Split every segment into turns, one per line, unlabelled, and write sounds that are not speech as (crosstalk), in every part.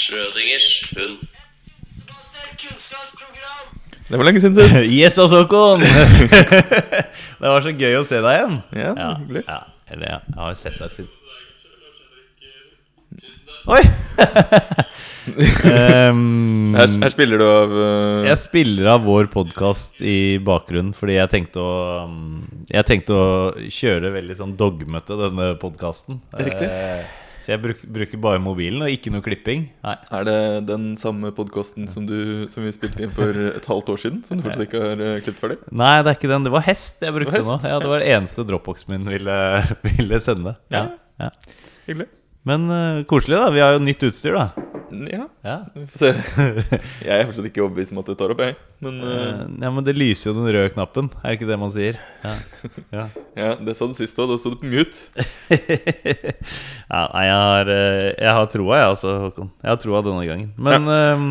Ingers hund.
Det var lenge siden sist.
(laughs) Yes, ass,
(laughs)
Håkon! det var så gøy å se deg igjen.
Ja,
Ja,
hyggelig.
ja, eller ja, jeg har jo sett deg siden Oi! Ehm,
Her, her spiller du av eh,
jeg spiller av vår podkast i bakgrunnen fordi jeg tenkte å um, Jeg tenkte å kjøre veldig sånn dogmete denne podkasten.
Riktig.
Så jeg bruk, bruker bare mobilen og ikke noe klipping. Nei.
Er det den samme podkasten som, du- som vi spilte inn for et halvt år siden? Som du fortsatt ikke har eh, klippet ferdig?
Nei, det er ikke den. Det var hest jeg brukte
Det var
nå.
hest.
Ja, Det var det eneste Dropboxen min ville, (laughs) ville sende. Ja, ja.
Hyggelig.
Men eh, koselig, da. Vi har jo nytt utstyr, da.
Ja,
Ja.
vi får se.
(laughs)
Jeg er fortsatt ikke overbevist om at det tar opp, jeg. Men eh,
Eh, ja, men det lyser jo den røde knappen, er det ikke det man sier? Ja, ja.
ja, det sa du sist òg. Da sto det på mute.
(laughs) ja nei, jeg har, eh, jeg har troa, jeg altså, Håkon. Jeg har troa denne gangen. Men eh,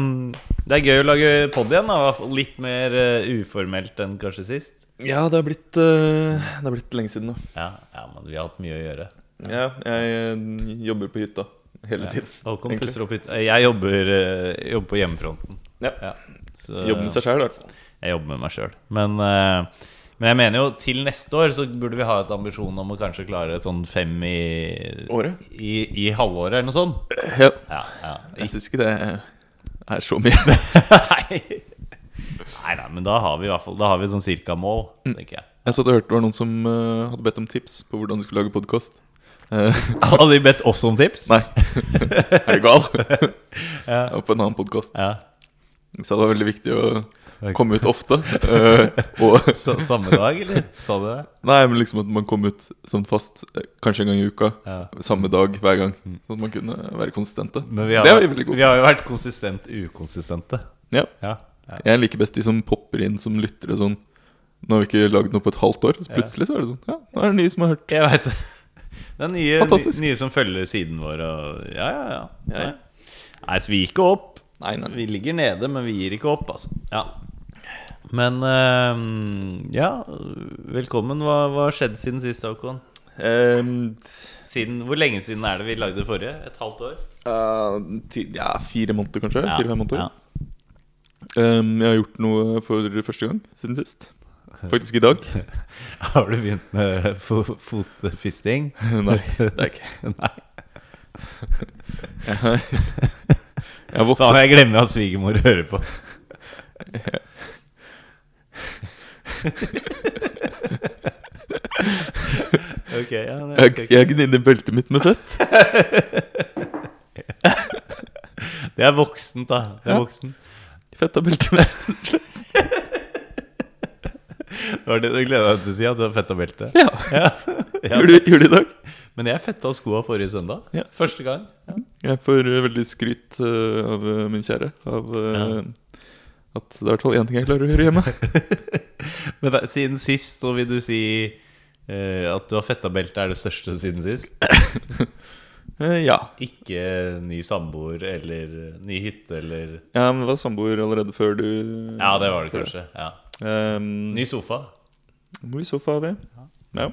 det er gøy å lage pod igjen, da. i hvert fall Litt mer eh, uformelt enn kanskje sist.
Ja, det har blitt, eh, det har blitt lenge siden nå.
Ja, ja, men vi har hatt mye å gjøre.
Ja, jeg eh, jobber på hytta hele tiden.
Håkon
egentlig.
pusser opp litt. Eh, Jeg jobber, eh, jobber på hjemmefronten.
Ja.
Ja. Så-
Jobber med seg sjæl, i hvert fall.
Jeg jobber med meg sjøl. Men, eh, men jeg mener jo til neste år så burde vi ha et ambisjon om å kanskje klare et sånn fem i
Året?
I, i halvåret, eller noe sånt.
Ja.
Ja,
(laughs)
ja.
Jeg syns ikke det er så mye.
nei. nei, nei, men da har vi i hvert fall Da har vi et sånn cirka mål,
Mm.
tenker jeg.
Jeg satt og hørte det var noen som eh, hadde bedt om tips på hvordan du skulle lage podkast.
Hadde de bedt oss om tips?
(laughs) Nei, (laughs) er du
(laughs)
gal? Jeg var på en annen podkast.
Ja,
Så det var veldig viktig å komme ut ofte. eh, og, (laughs)
så, Samme dag, eller? Sa du det?
nei, men liksom at man kom ut sånn fast eh, kanskje en gang i uka.
Ja. Mm.
Samme dag hver gang. Sånn at man kunne være konsistente.
Men vi har,
det var vi veldig
vi
gode.
har jo vært konsistent ukonsistente.
Ja.
Ja, ja.
Jeg liker best de som popper inn som lyttere sånn Nå har vi ikke lagd noe på et halvt år, så
Ja.
plutselig så er det sånn. Ja, nå er det nye som har hørt.
Jeg veit det. Det er nye, nye,
Fantastisk.
nye som følger siden vår og Ja, ja, ja. Nei, Nei, så vi gir ikke opp.
Nei, nei,
Vi ligger nede, men vi gir ikke opp, altså. Ja. Men eh, ja, velkommen. Hva hva har skjedd siden sist, Håkon?
Ehm,
Siden, hvor lenge siden er det vi lagde det forrige? Et halvt år?
eh, ti- ja, fire måneder, kanskje. Fire-fem måneder.
Ja.
Ehm, jeg har gjort noe for første gang siden sist. Faktisk i
(laughs)
dag.
Har du begynt med fo fotfisting?
Nei, det er ikke
(laughs) Nei.
Jeg har, jeg har
Da
vokst
må jeg glemme at svigermor hører på. ok, ja, det
Jeg,
skal ikke-
jeg gnidde beltet mitt med fett.
Det er voksent, da. Det er
Ja.
voksent.
Fett av beltet mitt.
Det var det du gleda deg til å si, at du har
(laughs)
fetta belte.
Ja,
Ja. Ja.
Gjorde gjorde det i dag.
Men jeg fetta skoa forrige søndag.
Ja.
Første gang. Ja.
Jeg får eh, veldig skryt eh, av eh, min kjære. Av eh, at det er i hvert fall én ting jeg klarer å gjøre hjemme.
Men da, siden sist så vil du si eh, at du har fetta belte er det største siden sist?
Eh, ja.
Ikke ny samboer eller ny hytte eller
ja, men var samboer allerede før du
Ja, det var det kanskje. Ja.
Um,
Ny sofa.
Hvor i sofa er vi? Ja.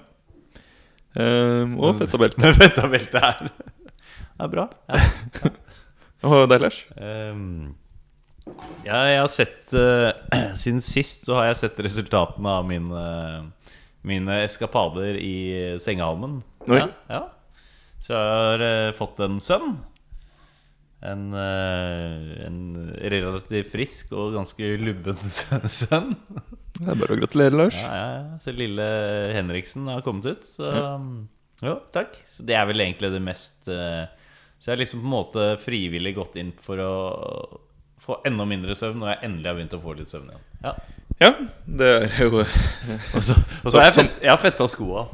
Ehm, og fett av
(laughs)
beltet.
Med fettabelte her. Det er bra. Ja.
Og deg, Lars?
Ehm, ja, jeg har sett eh, (clears throat) Siden sist så har jeg sett resultatene av mine, mine eskapader i sengehalmen.
Oi.
Ja, ja. Så jeg har eh, fått en sønn. En, eh, en relativt frisk og ganske lubben (laughs) sønn.
Det er bare å gratulere, Lars.
Ja, ja, ja. Så lille Henriksen har kommet ut. Så um, jo, takk. Så det er vel egentlig det mest eh, Så jeg har liksom på en måte frivillig gått inn for å få enda mindre søvn når jeg endelig har begynt å få litt søvn igjen. Ja.
Ja, det er jo (laughs)
Og så, og så har jeg, fett, jeg har fetta skoa.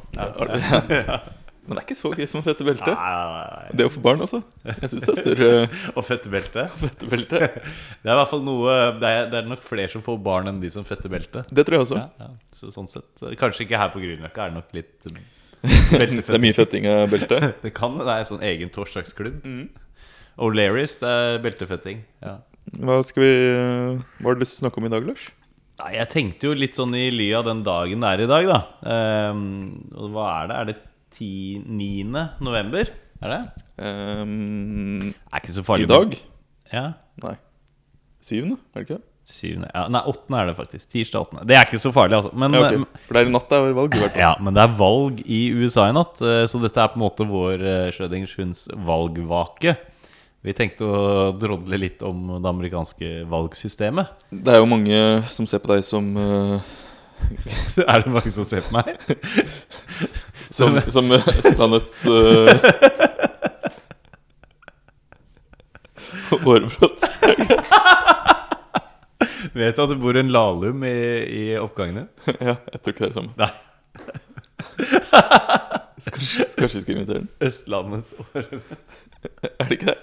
(laughs) Ja.
Men det er ikke så gøy som fette belte.
Nei, nei, nei.
Det å få barn, altså. Jeg syns det er større
Og (laughs) fettebelte.
fette belte.
Det er i hvert fall noe det er, det er nok flere som får barn enn de som fetter belte.
Det tror jeg også.
Ja, ja. Så sånn sett Kanskje ikke her på Grünerløkka, er det nok (laughs) litt
(laughs) Det er mye fetting av Mm. belte.
(laughs) Det kan det. Det er en sånn egen torsdagsklubb. O'Learys, det er beltefetting. Ja.
Hva skal vi Hva har du lyst til å snakke om i dag, Lars?
Nei, jeg tenkte jo litt sånn i ly av den dagen det er i dag, da. Ehm, og hva er det? Er det 10, 9. november? Er det?
Ehm,
Det er ikke så farlig.
I dag?
Ja.
Nei. Syvende, er det ikke det?
Syvende, ja, nei, åttende er det faktisk. Tirsdag åttende. Det er ikke så farlig, altså. Men,
Ja, ok. For det er i natt det er valg, i hvert fall.
ja, men det er valg i USA i natt, eh, så dette er på en måte vår eh, Schrödingers hunds valgvake. Vi tenkte å drodle litt om det amerikanske valgsystemet. (laughs)
Det er jo mange som ser på deg som eh,
er det mange som ser på meg?
Som, som eh, landets (laughs) uh, Årebrott.
Vet du at det bor en lalum i, i oppgangene?
(laughs) ja, jeg tror ikke det er det samme.
Nei.
Så Kanskje, så kanskje vi (laughs) skal invitere den?
Østlandets år.
Er det ikke det?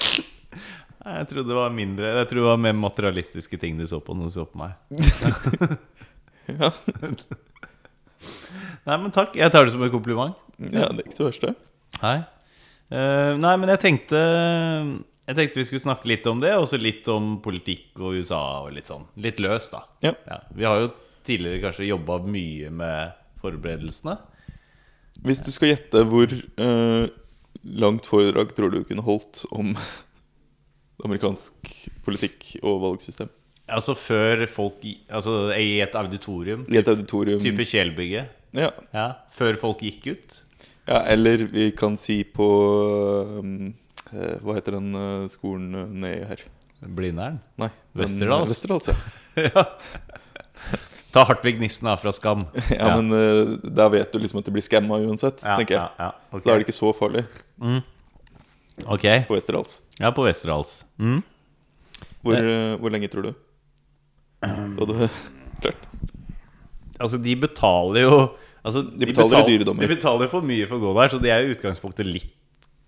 Nei, Jeg trodde det var mindre Jeg trodde det var mer materialistiske ting de så på når de så på meg.
Ja,
Nei, men takk. Jeg tar det som en kompliment.
ja det er ikke så verst, det.
Hei. Eh, nei, men jeg tenkte Jeg tenkte vi skulle snakke litt om det, og så litt om politikk og USA og litt sånn. Litt løst, da.
Ja.
Vi har jo tidligere kanskje jobba mye med forberedelsene.
Hvis du skal gjette hvor eh, langt foredrag tror du kunne holdt om (laughs) amerikansk politikk og valgsystem?
Altså før folk gi- Altså i et auditorium.
I et auditorium
Type Kjelbygget.
ja.
Ja. Før folk gikk ut.
ja, eller vi kan si på um, eh, Hva heter den eh, skolen eh, nede her?
Blindern.
Nei. den- eh,
Westerdals.
Westerdals,
(laughs)
ja.
ja. Ta Hartvig Nissen da fra Skam.
ja, men eh, der vet du liksom at du blir skamma uansett,
Ja,
tenker jeg.
ja, ja, ok.
Så da er det ikke så farlig
Ok.
på Westerdals.
Ja, på Westerdals. Mm.
Hvor, eh, hvor lenge
(clears throat)
tror du? Da du (laughs) klart.
Altså, de betaler jo altså,
De betaler i dyre dommer.
De betaler for mye for å gå der, så de er i utgangspunktet litt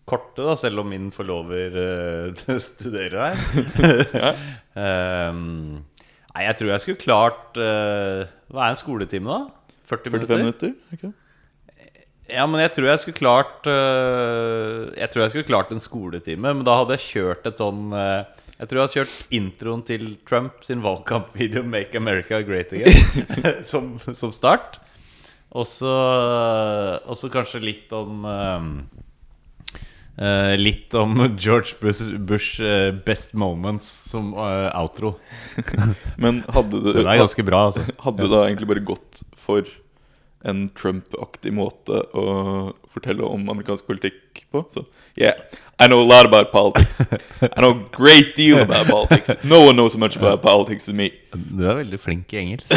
korte, da, selv om min forlover eh, (laughs) studerer
(laughs)
her. Ehm, nei, jeg tror jeg skulle klart eh, Hva er en skoletime, da? 40
45
minutter?
minutter? er det ikke det?
Ja, men jeg tror jeg skulle klart øh, Jeg tror jeg skulle klart en skoletime, men da hadde jeg kjørt et sånn øh, Jeg tror jeg hadde kjørt introen til Trump sin valgkampvideo 'Make America Great (laughs) Again' som, som start. Og så eh, og så kanskje litt om øh, øh, litt om (laughs) George Bush, Bush øh, best moments som øh, outro.
Men hadde du,
Det er ganske bra, altså.
hadde du da egentlig bare gått for en Trump-aktig måte å fortelle om amerikansk politikk på? Så, yeah, I know a lot about politics. I know a great deal about politics. No one knows so much about politics as me.
(laughs) Du er veldig flink i engelsk.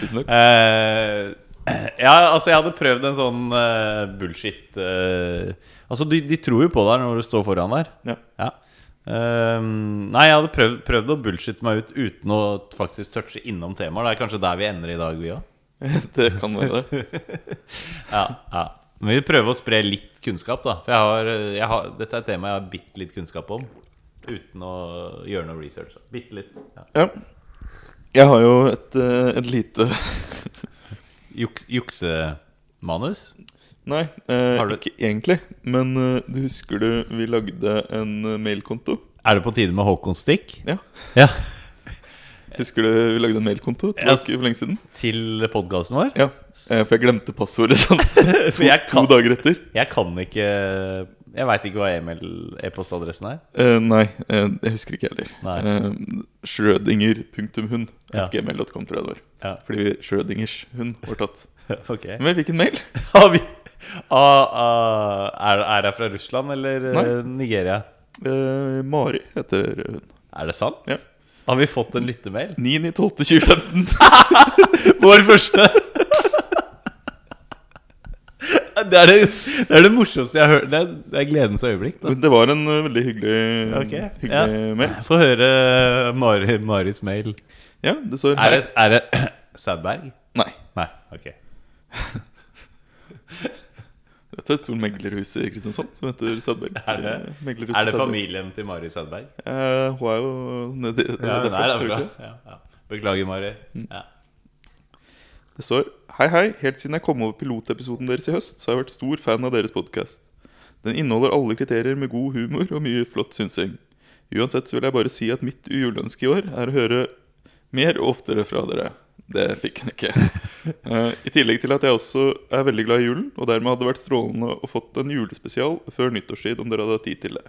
Tusen takk.
Eh, (clears throat) ja, altså jeg hadde prøvd en sånn eh, bullshit eh, Altså, de, de tror jo på deg når du står foran der.
Ja. (laughs)
Ja. Eh, nei, jeg hadde prøvd, prøvd å bullshitte meg ut uten å faktisk touche innom temaer. Det er kanskje der vi ender i dag, vi òg.
Det kan være det.
Ja, ja. Men vi prøver å spre litt kunnskap, da. For jeg har, eh, jeg har, dette er et tema jeg har bitte litt kunnskap om. Uten å gjøre noe research. Bitte litt. Ja.
Ja. Jeg har jo et, eh, et lite (laughs)
Juks, juksemanus?
Nei, eh,
Har du-
ikke egentlig. Men eh, du husker du vi lagde en eh, mailkonto?
Er det på tide med Håkon Stikk?
Ja.
Ja.
Husker du vi lagde en mailkonto til
Ja,
dere for lenge siden?
Til podkasten
(laughs)
vår?
Ja, eh, for jeg glemte passordet (laughs) sånn
For jeg
to
kan,
dager etter.
jeg kan ikke Jeg veit ikke hva e-mail- e-postadressen er. (laughs)
Eh, nei, eh, jeg husker ikke heller.
Nei.
Uh, Schrødinger.hund.
Ja.
Gmail.com, tror jeg det var.
Ja.
Fordi Schrødingers hund var tatt.
Ok
Men jeg fikk en mail.
(laughs) Har vi ah, ah, er, er jeg fra Russland eller eh,
Nei.
Nigeria?
Eh, Mari heter hun.
Er det sant?
Ja.
Har vi fått en lyttemail? (laughs)
9.12.2015.
Vår første! (laughs) Det er det, det er det morsomste jeg har hørt. Det er, det er gledens øyeblikk. Da.
Men det var en eh, veldig hyggelig,
Ok,
hyggelig mail.
Få høre Mari, Maris mail.
Ja, det står
Er det, er det (clears throat) Sædberg?
Nei.
Nei. ok
Dette er et stort meglerhus i Kristiansand som heter Sædberg.
Er det-
Eh, meglerhuset
Er det
Sædberg.
familien til Mari Sædberg?
Eh, hun er jo nedi
Ja, hun
derfra,
er
tror du
derfra.
ikke det?
Ja, ja. Beklager, Mari. Ja.
Det står Hei, hei. Helt siden jeg kom over pilotepisoden deres i høst, så har jeg vært stor fan av deres podkast. Den inneholder alle kriterier med god humor og mye flott synsing. Uansett så vil jeg bare si at mitt juleønske i år er å høre mer og oftere fra dere. Det fikk hun ikke. (laughs) Eh, I tillegg til at jeg også er veldig glad i julen, og dermed hadde det vært strålende å fått en julespesial før nyttårstid om dere hadde hatt tid til det.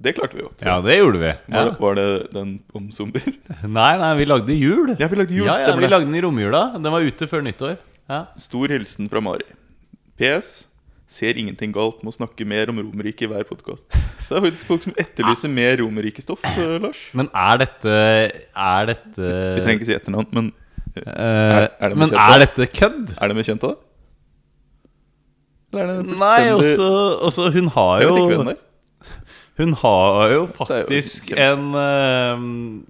Det klarte vi jo.
Ja, det gjorde vi.
Var,
Ja.
det, var det den om zombier?
Nei, nei, vi lagde jul.
(laughs) Ja, vi lagde jul,
ja, ja,
stemmer det.
vi lagde den i romjula. Den var ute før nyttår. Ja.
Stor hilsen fra Mari. PS. Ser ingenting galt med å snakke mer om Romerriket i hver podkast. Det er faktisk folk som etterlyser
Ah.
mer Romerrikestoff, eh, Lars.
Men er dette Er dette
Vi trenger ikke si etternavn, men
eh,
er det
Men
bekjent,
er dette kødd?
er de bekjent av det? Eller er det en
Nei,
fullstendig-
også, også Hun har
Jeg
jo
vet ikke hvem det er.
Hun har jo
er jo
faktisk
ikke-
en eh,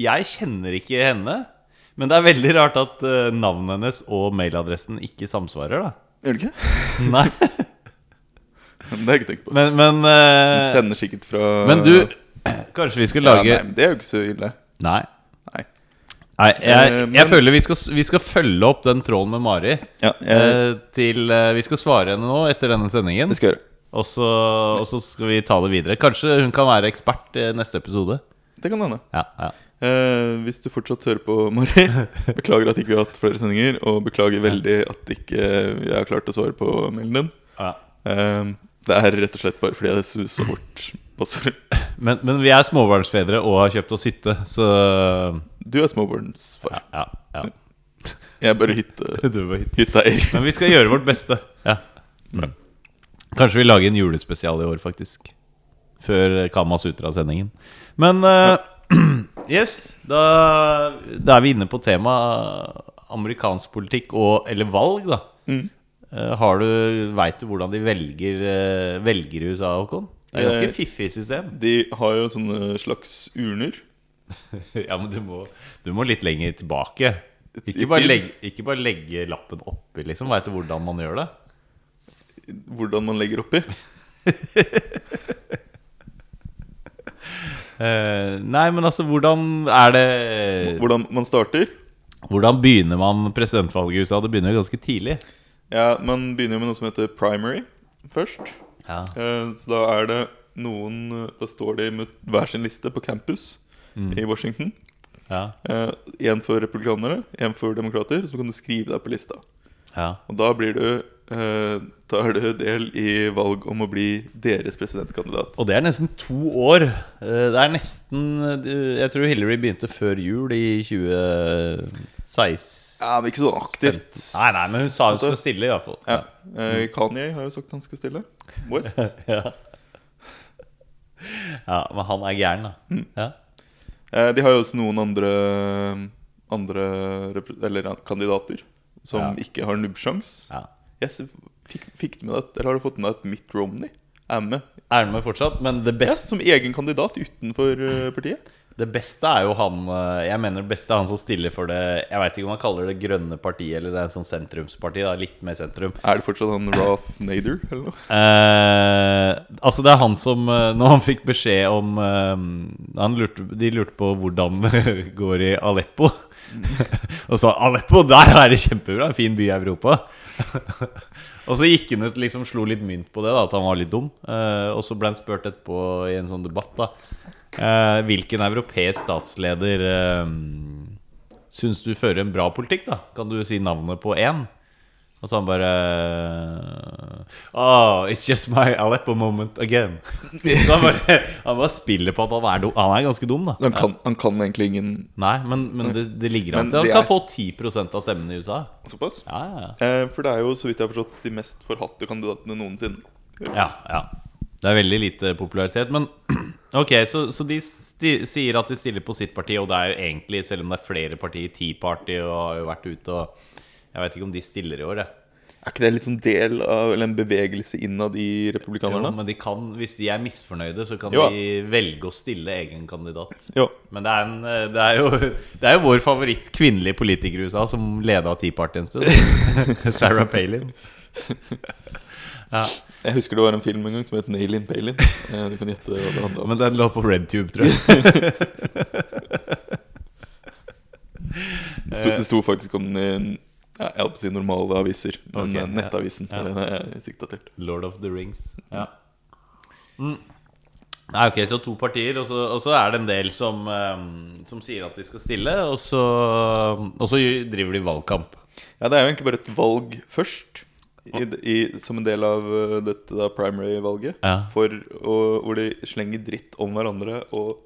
Jeg kjenner ikke henne. Men det er veldig rart at eh, navnet hennes og mailadressen ikke samsvarer, da.
Gjør det ikke? (laughs)
Nei, (laughs)
Men Det har jeg ikke tenkt på.
men Men, eh,
Den sender sikkert fra
men du, kanskje vi skulle
ja,
lage
nei, men Det er jo ikke så ille.
Nei.
Nei.
Nei, jeg,
Eh,
jeg
men-
føler vi skal, vi skal følge opp den tråden med Mari.
Ja, jeg,
eh, til, eh, vi skal svare henne nå etter denne sendingen.
det skal jeg gjøre.
Og så, og så skal vi ta det videre. Kanskje hun kan være ekspert i neste episode.
Det kan hende.
Ja, ja.
Eh, hvis du fortsatt hører på, Mari Beklager at ikke vi har hatt flere sendinger. Og beklager veldig at ikke jeg har klart å svare på mailen din.
Ja.
Eh, det er rett og slett bare fordi jeg susa bort passordet.
Men, men vi er småbarnsfedre og har kjøpt oss hytte, så
(laughs) Du er småbarnsfar.
Ja. ja.
Jeg er bare hytte,
Du var hytte. (laughs)
hytteeier.
Men vi skal gjøre vårt beste. Ja.
Bra.
Mm. Kanskje vi lager en julespesial i år, faktisk. Før Kama Sutra-sendingen. Men eh, (clears throat) yes, da, da er vi inne på temaet amerikansk politikk og Eller valg, da.
Mm.
Eh, Har du, Veit du hvordan de velger, eh, velger i USA, Håkon? Det er et ganske fiffig system.
De har jo sånne slags urner.
(laughs) ja, men du må, du må litt lenger tilbake. Ikke
I
bare,
tid?
legge, ikke bare legge lappen oppi, liksom. Veit du hvordan man gjør det?
Hvordan man legger oppi.
Eh, nei, men altså, hvordan er det
Hvordan man starter.
Hvordan begynner man presidentvalget i USA? Det begynner jo ganske tidlig.
Ja, Man begynner jo med noe som heter primary først.
Ja.
Eh, Så da er det noen Da står de med hver sin liste på campus i Washington.
Ja.
Eh, En for republikanere, en for demokrater. Så kan du skrive deg på lista.
ja.
Og da blir du eh, tar du del i valg om å bli deres presidentkandidat.
Og det er nesten to år. Eh, Det er nesten eh, Jeg tror Hillary begynte før jul i 2016.
Ja, men ikke sånn aktivt.
Nei, nei, men hun sa hun skulle stille, i hvert fall.
ja. Eh, Kanye har jo sagt han skal stille.
(laughs)
West.
Ja. ja, men han er gæren,
Mm.
da. Ja.
Eh, De har jo også noen andre, andre repre- eller kandidater som
Ja.
ikke har nubbsjans.
Ja.
Jeg s- fikk, fikk du med deg at- Eller har du fått med deg at Mitt Romney er med
Er han med fortsatt? Men det
ja,
beste,
som egen kandidat utenfor eh, partiet?
det beste er jo han eh, Jeg mener det beste er han som stiller for det Jeg veit ikke om han kaller det grønne partiet eller det er en sånn sentrumsparti. da, Litt mer sentrum.
Er det fortsatt han Ralph Nader? Eller noe?
Eh, altså, det er han som eh, Når han fikk beskjed om eh, han lurte, De lurte på hvordan (laughs) det går i Aleppo. og så Aleppo, der er det kjempebra! En fin by i Europa. (laughs) og så gikk han ut liksom slo litt mynt på det, da at han var litt dum. Eh, og så ble han spurt etterpå i en sånn debatt, da. eh, hvilken europeisk statsleder uh, syns du fører en bra politikk, da? Kan du si navnet på én? Og så han bare Oh, it's just my Aleppo moment again. (laughs) Så han bare, han bare spiller på at han er dum. Han er ganske dum, da.
Han, kan, han kan egentlig ingen
Nei, men, men det, det ligger an
Men
til.
det
Han kan
er-
få 10 av stemmene i USA.
såpass.
Ja, ja,
Eh, for det er jo, så vidt jeg har forstått, de mest forhatte kandidatene noensinne.
ja. ja, ja. Det er veldig lite popularitet. Men (clears throat) ok, så, så de, de sier at de stiller på sitt parti, og det er jo egentlig, selv om det er flere partier, Tea Party og har jo vært ute og Jeg veit ikke om de stiller i år, jeg.
Er ikke det litt sånn del av eller en bevegelse innad i
Jo,
republikanerne?
men de kan, hvis de er misfornøyde, så kan
Jo.
de velge å stille egen kandidat.
Jo.
Men det er, en, eh, det er, jo, (laughs) det er jo vår favoritt kvinnelige politiker i USA som leda Tea Party en (laughs) stund. Sarah Palin. Ja,
Jeg husker det var en film en gang som het Nail in Palin. Eh, du kan gjette hva det handla om.
men den lå på RedTube, tror jeg.
Det sto, det sto faktisk om den i ja, jeg holdt på å si normale aviser, men
Ok,
eh,
ja.
nettavisen.
Ja.
For den er jeg sikta til.
(laughs) Lord of the Rings. Ja. Mm. Nei, ok, så to partier, og så, og så er det en del som, eh, som sier at de skal stille, og så, og så driver de valgkamp.
Ja, det er jo egentlig bare et valg først. i, i, som en del av eh, dette da primary-valget.
Ja.
For å, Hvor de slenger dritt om hverandre. Og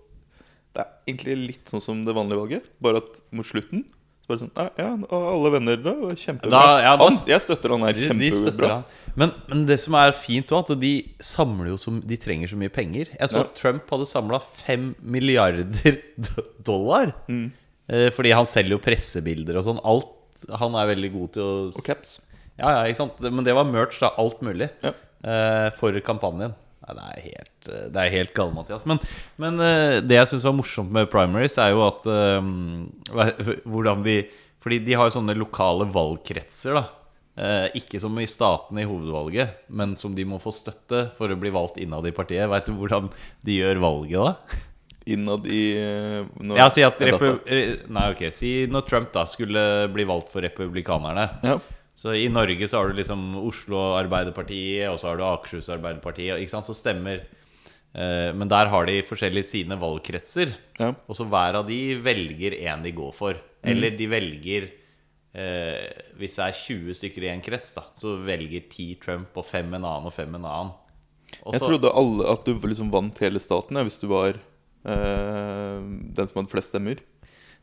det er egentlig litt sånn som det vanlige valget, bare at mot slutten så bare sånn, nei, ja, og alle venner da, var kjempebra.
Da- ja, da-
han, jeg støtter han her
De, de støtter
kjempebra.
han. Men, men det som er fint òg, at de samler jo så, De trenger så mye penger. Jeg så
Ja.
at Trump hadde samla fem milliarder (laughs) do- dollar.
Mm.
Eh, Fordi han selger jo pressebilder og sånn. Alt Han er veldig god til å s-
Og caps.
Ja, ja, ikke sant? Det- Men det var merch, da. Alt mulig.
Ja.
eh, For kampanjen. Nei, det er helt, eh, det er helt gale, Mathias. Men, men eh, det jeg syns var morsomt med primaries, er jo at eh, (laughs) hvordan de Fordi de har jo sånne lokale valgkretser, da. Eh, ikke som i statene i hovedvalget, men som de må få støtte for å bli valgt innad i partiet. Veit du hvordan de gjør valget, da?
Innad i eh, når-
(laughs) Ja, si at
i data.
repu eh, Nei, ok, si når Trump da skulle bli valgt for republikanerne.
Ja.
Så i Norge så har du liksom Oslo Arbeiderpartiet, og så har du Akershus Arbeiderparti, og ikke sant, så stemmer. Eh, Men der har de forskjellige sine valgkretser.
Ja. Mm.
Og så hver av de velger en de går for. Eller de velger eh, Hvis det er 20 stykker i en krets, da, så velger 10 Trump og 5 en annen og 5 en annen. Og
Jeg
så-
trodde alle, at du liksom vant hele staten ja, hvis du var eh, den som hadde flest stemmer.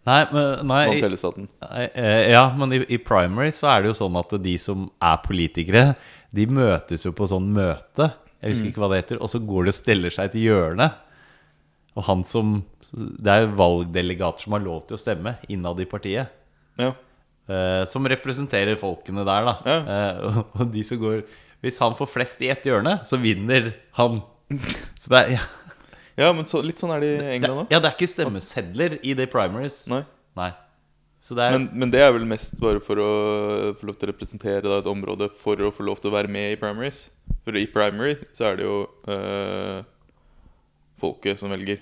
Nei, men, nei,
Vant hele staten.
Nei, eh, Ja, men i, i primary så er det jo sånn at de som er politikere, de møtes jo på sånn møte, jeg
Mm.
husker ikke hva det heter, og så går de og steller seg til hjørnet. Og han som Det er jo valgdelegater som har lov til å stemme innad i partiet.
Ja.
eh, som representerer folkene der, da. Eh, og, og de som går Hvis han får flest i ett hjørne, så vinner han. Så det er, ja,
Ja, men så, litt sånn er det i
det,
England òg.
ja, det er ikke stemmesedler i de primaries.
Nei.
Nei. Så det er
Men, men det er vel mest bare for å få lov til å representere da, et område for å få lov til å være med i primaries. For i primary så er det jo eh, folket som velger.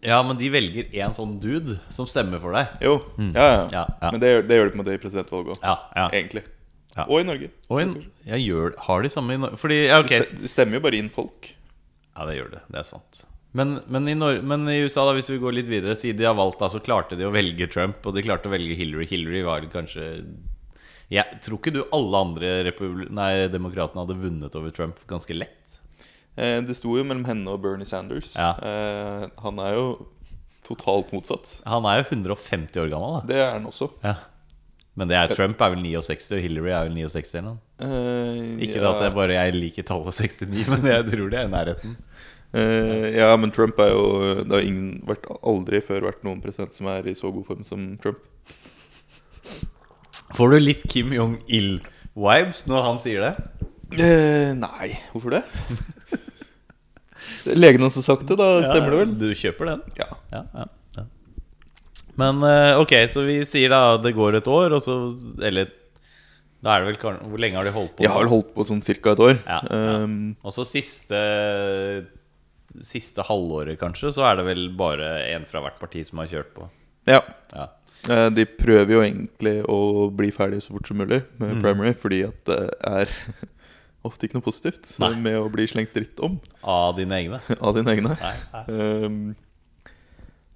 Ja, men de velger en sånn dude som stemmer for deg.
Jo, ja, ja.
Mm. Ja, ja.
Men det, gjør- det gjør det på en måte i presidentvalget òg,
Ja, ja.
egentlig.
Ja.
Og i Norge.
Og en, jeg gjør, har de samme i Norge Fordi, ja, ok
Du ste- Du stemmer jo bare inn folk.
Ja, det gjør det, det er sant men, men, i Nor men i USA, da, hvis vi går litt videre Siden de har valgt, da, så klarte de å velge Trump Og de klarte å velge Hillary Hillary var kanskje Jeg tror ikke du alle andre republi- Nei, demokratene hadde vunnet over Trump ganske lett
Eh, det sto jo mellom henne og Bernie Sanders.
Ja.
Eh, han er jo totalt motsatt.
Han er jo 150 år gammel da
Det er han også.
ja. Men det er, Trump er vel 69, og Hillary er vel 69 eller noe
Eh,
Ikke
ja.
at jeg bare jeg liker tallet 69, (laughs) men jeg tror det er i nærheten
Eh, ja, men Trump er jo Det har ingen, vært, aldri før vært noen president som er i så god form som Trump.
Får du litt Kim Jong-il-vibes når han sier det?
Eh, nei, hvorfor det? Det er (laughs) Legen hans har sagt det, da stemmer det vel?
Du kjøper den?
Ja.
Ja, ja, ja. Men eh, ok, så vi sier da det går et år, og så Eller da er det vel kanskje Hvor lenge har de holdt på?
Jeg har vel holdt på sånn ca. et år.
Ja, ja.
Ehm,
Og så siste Siste halvåret, kanskje, så er det vel bare én fra hvert parti som har kjørt på.
ja.
Ja.
Eh, De prøver jo egentlig å bli ferdig så fort som mulig med
Mm.
primary, fordi at det er (laughs) ofte ikke noe positivt så
Nei.
med å bli slengt dritt om
Av dine egne.
av dine egne.
Nei, nei.
Ehm,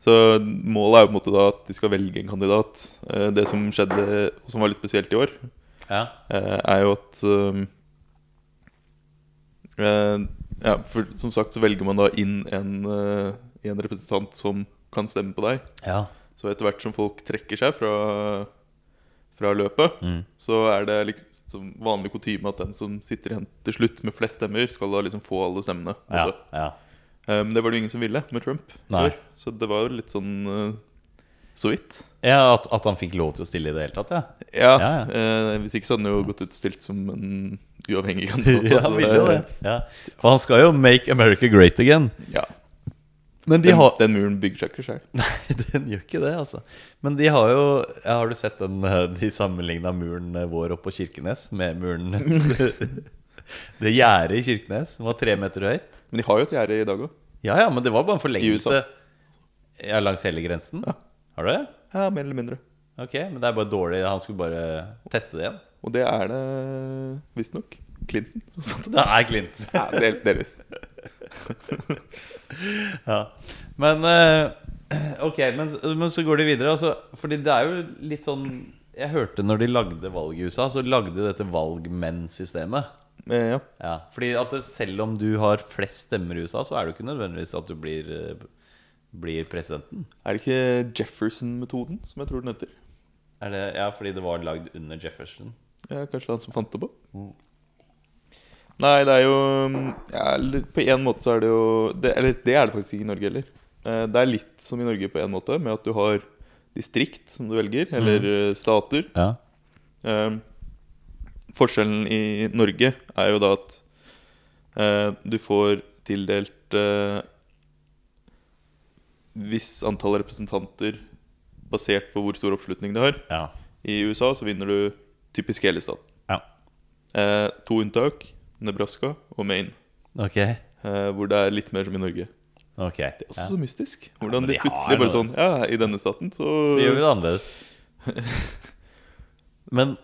så målet er jo på en måte da at de skal velge en kandidat. Eh, det som skjedde, og som var litt spesielt i år,
Ja.
eh, er jo at ehm, eh, Ja, for som sagt så velger man da inn en, eh, en representant som kan stemme på deg.
ja.
Så etter hvert som folk trekker seg fra, fra løpet,
Mm.
så er det liksom vanlig kutyme at den som sitter igjen til slutt med flest stemmer, skal da liksom få alle stemmene. på en
Ja.
måte.
ja.
Eh, Men det var det jo ingen som ville med Trump.
Nei.
før, Så det var jo litt sånn eh, så vidt.
ja at, at han fikk lov til å stille i det hele tatt, ja.
Ja,
Ja,
Eh, Hvis ikke så hadde han jo gått utstilt som en
(laughs)
uavhengig kandidat.
(laughs) Ja,
altså,
han ville jo det. Ja. For han skal jo 'Make America Great Again'.
Ja,
Men
den, den muren bygger seg ikke sjøl.
(laughs) Nei, den gjør ikke det, altså. Men de har jo ja, Har du sett den eh, de sammenligna muren eh, vår oppe på Kirkenes med muren (laughs) Det gjerdet i Kirkenes som var tre meter høyt?
Men de har jo et gjerde i dag òg.
Ja ja, men det var bare en
I USA.
forlengelse ja, langs hele grensen.
Ja.
Har du det?
Ja, mer eller mindre.
Ok, men det er bare dårlig. Han skulle bare tette det igjen.
Og det er det visstnok Clinton som satte (laughs) det.
Det er Clint.
Ja, del, delvis.
Ja. (clears throat) Men eh, Ok, men, men så går de videre. Altså, fordi det er jo litt sånn Jeg hørte når de lagde valg i USA, så lagde de dette valgmenn-systemet.
Eh, ja.
Ja, fordi at det- selv om du har flest stemmer i USA, så er det jo ikke nødvendigvis at du blir, eh, blir presidenten.
Er det ikke Jefferson-metoden, som jeg tror den heter?
Er det, ja, fordi det var lagd under Jefferson.
Ja, kanskje han som fant det på? Nei, det er jo mm, ja, eller På en måte så er det jo det, Eller det er det faktisk ikke i Norge heller. Eh, Det er litt som i Norge på en måte, med at du har distrikt som du velger, eller eh, stater.
Ja.
Eh, Forskjellen i Norge er jo da at eh, du får tildelt eh, visst antall representanter basert på hvor stor oppslutning det har.
Ja.
I USA så vinner du typisk hele staten.
ja.
Eh, to unntak, Nebraska og Maine,
Ok.
eh, hvor det er litt mer som i Norge.
Ok.
Også
Ja.
så mystisk.
men
Hvordan
de
de
har
plutselig bare
noe.
sånn Ja, i denne staten, så,
Så gjør vi det annerledes. (laughs) Men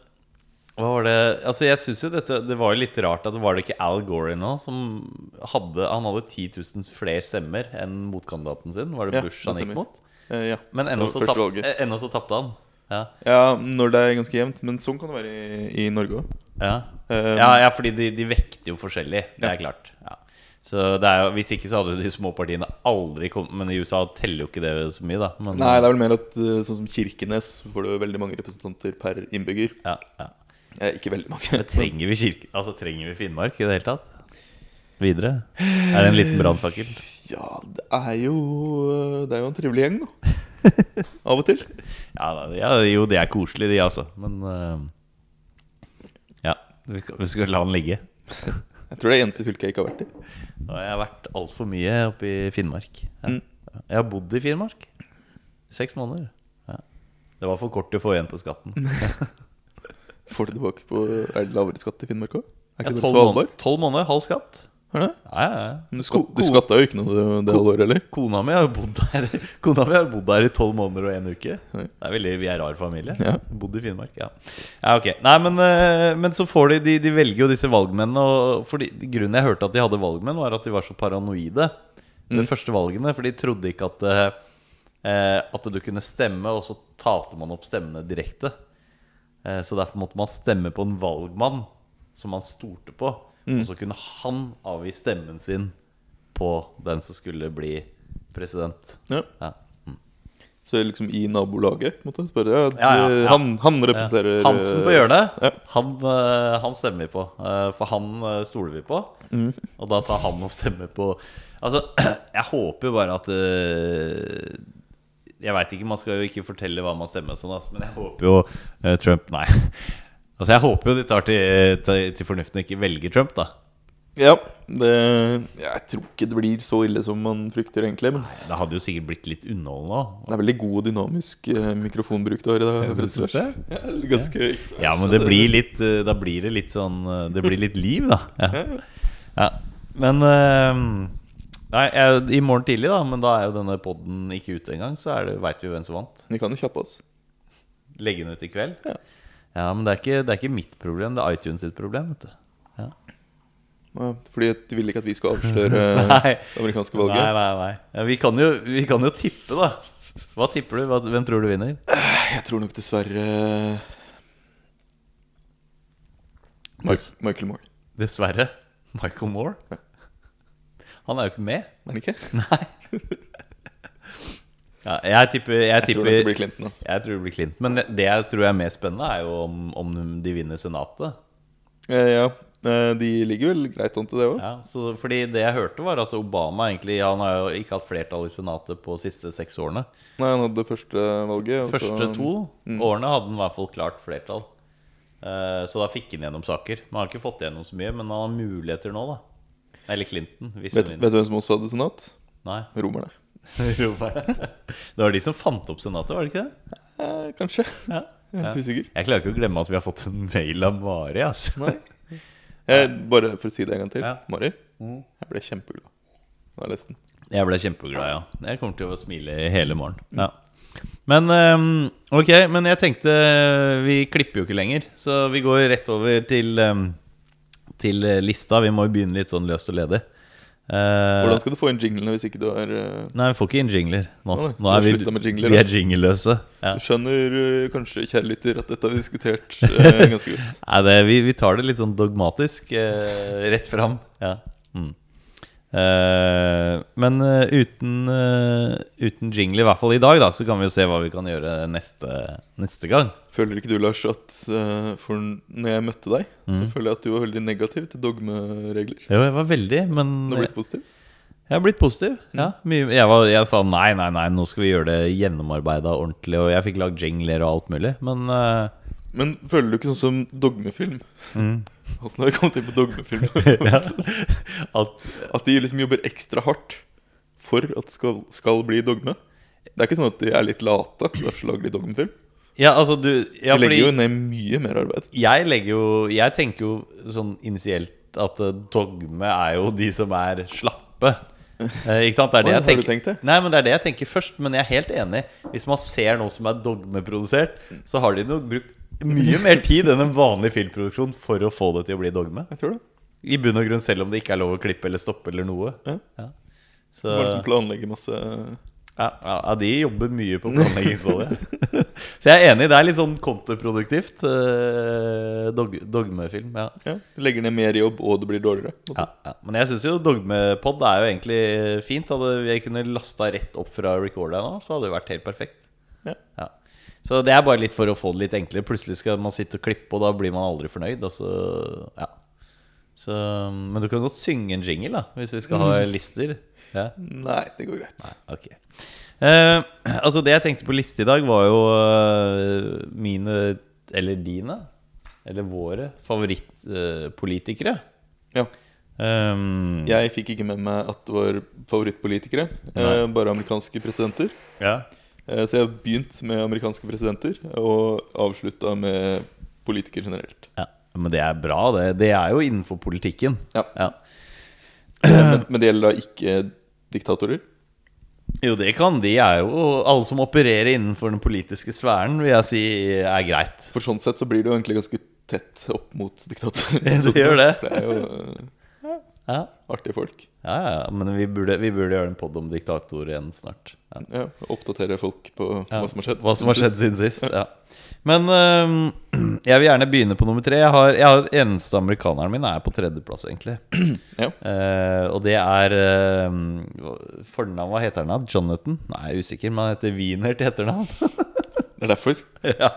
hva var det Altså, jeg syns jo dette Det var jo litt rart at det var det ikke Al Gore nå som hadde Han hadde 10 000 flere stemmer enn motkandidaten sin. Var det
Ja,
Bush
det
han gikk
stemmer.
mot?
eh, ja.
Men ennå
Det
så
var første
tap-
valget.
eh, ennå så tapte han. Ja.
ja, når det er ganske jevnt. Men sånn kan det være i, i Norge òg.
Ja.
Eh,
ja, ja fordi de, de vekter jo forskjellig. Det er klart. Ja. Så det er jo, Hvis ikke så hadde jo de små partiene aldri kommet Men i USA teller jo ikke det så mye, da. Men,
Nei, det er vel mer at eh, sånn som Kirkenes så får du veldig mange representanter per innbygger.
ja, ja.
Eh, ikke veldig mange.
Men trenger vi kirke Altså trenger vi Finnmark i det hele tatt? Videre? Er det en liten brannfakkel?
Ja, det er jo eh, Det er jo en trivelig gjeng, da.
(laughs)
Av og til.
Ja, da- ja, jo, de er koselige, de, altså. Men eh, Ja. Vi skal, vi skal la den ligge.
Jeg tror det er eneste fylket jeg ikke har vært i.
Og jeg har vært altfor mye oppe i Finnmark. Ja.
Mm.
Jeg har bodd i Finnmark. Seks måneder. Ja. Det var for kort til å få igjen på skatten.
Får du tilbake på Er det lavere skatt i Finnmark òg? Er
Ja,
ikke det
Tolv
bare Svalbard?
måneder, 12 måneder, halv skatt.
Er det?
Ja, ja, ja.
Men du, skatt,
Ko-
du
ko-
skatta jo ikke noe det- det halvåret, eller?
Kona mi har jo bodd der (laughs) Kona mi har jo bodd der i tolv måneder og én uke.
Oi.
Det er veldig, Vi er rar familie.
Ja.
Bodd i Finnmark. Ja, ja ok Nei, men, eh, men så får de, de De velger jo disse valgmennene. Og fordi, grunnen jeg hørte at de hadde valgmenn, var at de var så paranoide. De
Mm.
første valgene For de trodde ikke at eh, eh, At du kunne stemme, og så talte man opp stemmene direkte. Eh, Så derfor måtte man stemme på en valgmann som man stolte på. Og så kunne han avgi stemmen sin på den som skulle bli president.
Ja.
Ja.
Så liksom i nabolaget, på en måte? Spørre, ja,
Ja, ja, ja.
Han, han representerer
Eh, Hansen på hjørnet,
Ja.
han, eh, han stemmer vi på. eh, For han eh, stoler vi på. Og da tar han og stemmer på Altså, (clears throat) jeg håper jo bare at eh, Jeg veit ikke, man skal jo ikke fortelle hva man stemmer og sånn, altså, men jeg håper jo eh, Trump Nei. (laughs) Altså, jeg håper jo de tar til, til, til fornuften og ikke velger Trump, da.
ja det, jeg tror ikke det blir så ille som man frykter, egentlig. Men
Det hadde jo sikkert blitt litt underholdende òg.
det er veldig god og dynamisk eh, mikrofonbruk du har i dag. for å si det
synes
sånn. Ja, ganske Altså,
Ja, men det blir litt eh, Da blir det litt sånn eh, Det blir litt liv, da. Ja. ja. Men eh, Nei, jeg, i morgen tidlig, da, men da er jo denne poden ikke ute engang, så er det- vet vi hvem som vant.
Vi kan jo kjappe oss.
Legge den ut i kveld.
Ja.
Ja, men det er, ikke, det er ikke mitt problem, det er iTunes sitt problem, vet du. Ja.
Ja, Fordi at de vil ikke at vi skal avsløre
(laughs) Nei.
det amerikanske
Nei,
valget.
nei, nei. Ja, vi, kan jo, vi kan jo tippe, da. Hva tipper du? Hva, hvem tror du vinner?
Jeg tror nok dessverre
Dess-
Mike, Michael Moore.
Dessverre. Michael Moore. Han er jo ikke med.
Er det ikke?
Nei. ja, jeg tipper Jeg,
Jeg tror
tipper,
nok det blir Clinton. altså
jeg tror det blir Clinton. Men det jeg tror er mer spennende, er jo om, om de vinner Senatet.
Eh, ja, eh, de ligger vel greit an til det òg.
Ja, så, fordi det jeg hørte, var at Obama egentlig Han har jo ikke hatt flertall i Senatet på de siste seks årene.
Nei, han hadde første valget. og så-
Første to
mm.
årene hadde han i hvert fall klart flertall. Eh, Så da fikk han gjennom saker. Man har ikke fått gjennom så mye, men han har muligheter nå, da. Eller Clinton, hvis
Vet, vet
hun vinner.
du hvem som også hadde senat?
Nei. (laughs)
Romerne.
det var de som fant opp Senatet, var det ikke det?
Eh, kanskje.
Ja.
Jeg er
Ja.
Litt usikker.
Jeg klarer ikke å glemme at vi har fått en mail av Mari. Altså.
Nei. Eh, bare for å si det en gang til.
Ja.
Mari, jeg ble kjempeglad da jeg leste den.
Jeg ble kjempeglad, ja. Jeg kommer til å smile i hele morgen. Ja. Men ehm, ok, men jeg tenkte Vi klipper jo ikke lenger, så vi går rett over til, ehm, til eh, lista. Vi må jo begynne litt sånn løst og ledig. Eh,
Hvordan skal du få inn jinglene hvis ikke du er eh,
Nei, vi får ikke inn jingler nå.
Nei, nei,
nå
så
er vi,
slutta med jingler,
vi
da.
er jingleløse. Ja.
Du skjønner eh, kanskje, kjære lytter, at dette har vi diskutert eh, ganske godt.
Nei, det, vi, vi tar det litt sånn dogmatisk. Eh, rett fram. Ja. Mm. Eh, men eh, uten, eh, uten jingle, i hvert fall i dag, da, så kan vi jo se hva vi kan gjøre neste, neste gang.
Føler ikke du, Lars, at eh, for når jeg møtte deg,
Mm.
så føler jeg at du var veldig negativ til dogmeregler?
Jo, jeg var veldig, men
Du har blitt positiv?
Jeg har blitt positiv. Ja, mye, jeg, var, jeg sa nei, nei, nei, nå skal vi gjøre det gjennomarbeida ordentlig. Og jeg fikk lagd jingler og alt mulig. Men eh, (laughs)
Men føler du ikke sånn som dogmefilm?
mm.
(laughs) Åssen har vi kommet inn på
(laughs)
dogmefilm?
ja. Alt,
At de liksom jobber ekstra hardt for at det skal, skal bli dogme. Det er ikke sånn at de er litt late, så derfor lager de dogmefilm.
ja, altså du
De
ja,
legger
fordi-
jo ned mye mer arbeid.
jeg legger jo Jeg tenker jo sånn initielt at eh, dogme er jo de som er slappe. Eh, ikke sant? Det er det
Oi,
jeg
har du
tenker.
tenkt det?
Nei, men det er det jeg tenker først. Men jeg er helt enig. Hvis man ser noe som er dogmeprodusert, så har de nok brukt mye mer tid enn en vanlig filmproduksjon for å få det til å bli dogme.
Jeg tror det.
I bunn og grunn, selv om det ikke er lov å klippe eller stoppe eller noe.
Ja. De
Så
må liksom
ja,
planlegge masse
ja, ja, de jobber mye på planleggingsstadiet. (laughs) så jeg er enig. Det er litt sånn kontraproduktivt. eh, dog, dogmefilm. ja
ja, de legger ned mer jobb, og det blir dårligere. på en måte.
Ja, ja. Men jeg syns jo dogmepod er jo egentlig fint. Hadde jeg kunne lasta rett opp fra recorda nå, så hadde det vært helt perfekt.
Ja.
Så det er bare litt for å få det litt enklere. Plutselig skal man sitte og klippe, og da blir man aldri fornøyd. Og så, ja. så, men du kan godt synge en jingle, da, hvis vi skal ha lister. Ja.
Nei, det går greit.
Ok Eh, Altså det jeg tenkte på liste i dag var jo eh, mine, eller dine, eller våre favorittpolitikere.
Ja.
Um,
Jeg fikk ikke med meg at det var favorittpolitikere, eh, bare amerikanske presidenter.
ja.
Eh, så jeg har begynt med amerikanske presidenter, og avslutta med politikere generelt.
Ja, men det er bra, det. Det er jo innenfor politikken.
Ja.
Ja.
Eh, Men, men det gjelder da ikke diktatorer.
Jo, det kan de. er jo Alle som opererer innenfor den politiske sfæren, vil jeg si er greit.
For sånn sett så blir det jo egentlig ganske tett opp mot
(laughs)
diktatorer.
Det gjør det.
For det er jo eh,
Ja,
artige folk.
ja, ja men vi burde, vi burde gjøre en pod om diktatorer igjen snart. Ja.
Ja, oppdatere folk på
Ja,
hva som har skjedd.
Hva som har skjedd siden sist, ja Men øhm, jeg vil gjerne begynne på nummer tre. Jeg har, jeg har Eneste amerikaneren min er på tredjeplass, egentlig.
Ja.
Eh, og det er uh, Fornavn, hva heter han? da? Jonathan? Nei, jeg er usikker, men han heter Wiener til etternavn.
Det er derfor.
(laughs) ja.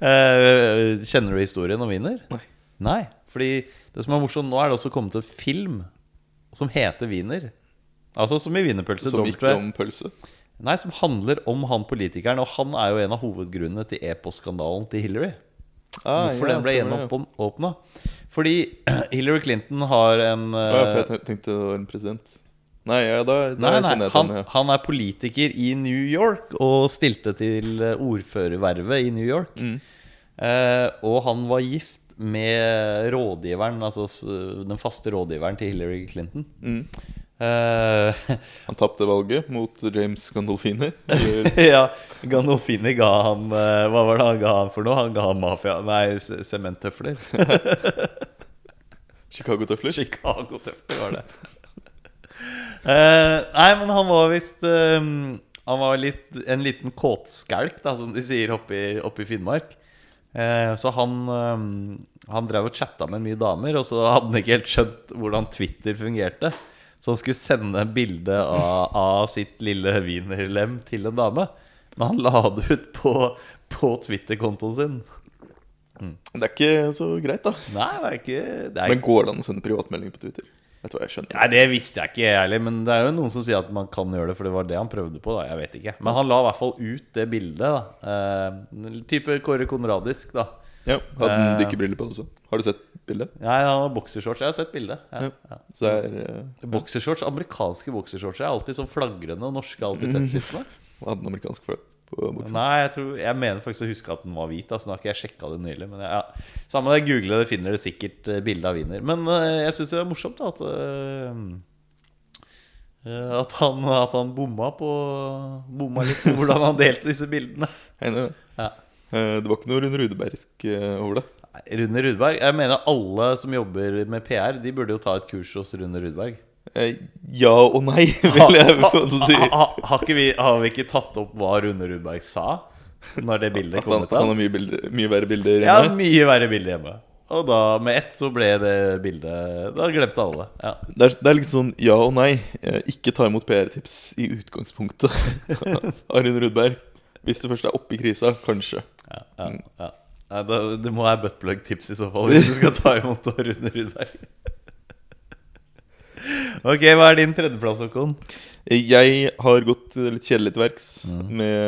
Eh, kjenner du historien om Wiener?
Nei.
Nei. Fordi det som er morsomt nå, er det også kommet en film som heter Wiener. Altså som i wienerpølse.
Som
Domstved.
gikk om pølse.
Nei, som handler om han politikeren. Og han er jo en av hovedgrunnene til EPOS-skandalen til Hillary.
Ah,
Hvorfor den ble gjenåpna. Fordi (clears throat) Hillary Clinton har en
Ja, for
eh,
jeg ten- tenkte det var en president. Nei, ja, da, da
Nei, nei,
kjenner jeg
han,
til den.
han er politiker i New York og stilte til eh, ordførervervet i New York.
Mm.
Eh, og han var gift med rådgiveren, altså s- den faste rådgiveren til Hillary Clinton.
Ja. Mm.
Eh, (laughs)
Han tapte valget mot James Gandolfini.
(laughs) ja, Gandolfini ga han eh, Hva var det han ga han for noe? Han ga han mafia Nei, s- sementtøfler.
Chicago-tøfler.
(laughs) Chicago-tøfler var det. (laughs) Eh, nei, men han var visst eh, Han var litt, en liten kåtskalk, da, som de sier oppe i, oppe i Finnmark. Eh, så han, eh, han drev og chatta med mye damer, og så hadde han ikke helt skjønt hvordan Twitter fungerte. Så han skulle sende en bilde av, av sitt lille wienerlem til en dame. Men han la det ut på, på Twitter-kontoen sin.
Det er ikke så greit, da.
Nei, det er ikke, det er
Men går det an å sende privatmelding på Twitter? Vet du hva, jeg skjønner.
Nei, Det visste jeg ikke, jeg heller. Men det er jo noen som sier at man kan gjøre det, for det var det han prøvde på. da, jeg vet ikke Men han la i hvert fall ut det bildet. da eh, Type Kåre Konradisk, da.
Ja, Hadde han
Eh.
dykkebriller på også? Har du sett bildet?
Nei, han har boksershorts. Jeg har sett bildet. Ja.
Ja. Så det er eh,
Boksershorts, Amerikanske boksershorts er alltid sånn flagrende, og norske er alltid tettsittende.
Hva hadde den amerikanske flagget på buksa?
Nei, jeg, tror, jeg mener faktisk å huske at den var hvit. Altså, nå har ikke jeg sjekka det nylig. Men jeg, ja. Samme det, google det, finner dere sikkert eh, bildet av Wiener. Men eh, jeg syns det er morsomt da, at eh, eh, at, han, at han bomma på Bomma litt på hvordan han delte disse bildene.
Jeg er enig i det.
Ja.
Eh, Det var ikke noe Rune Rudebergsk eh, over det.
Nei, Rune Rudberg Jeg mener alle som jobber med PR, de burde jo ta et kurs hos Rune Rudberg.
Eh, Ja og nei, (laughs)
(laughs)
vil jeg få lov til å si.
Ha- ha- har ikke vi, har vi ikke tatt opp hva Rune Rudberg sa når det bildet
At
kom
han,
ut?
at han
av?
har mye, bilder, mye verre bilder
Ja,
hjemme.
mye verre bilde hjemme. Og da med ett så ble det bildet Da glemte alle. Ja.
Det er, det er liksom sånn ja og nei. Eh, Ikke ta imot PR-tips i utgangspunktet. (laughs) Arin Rudberg. Hvis du først er oppe i krisa, kanskje.
Ja, ja, ja. Nei, da, det må være buttplug-tips i så fall hvis du skal ta imot av Rune Rudberg. Ok, hva er din tredjeplass, Håkon?
Eh, Jeg har gått eh, litt kjedelig til verks
Mm.
med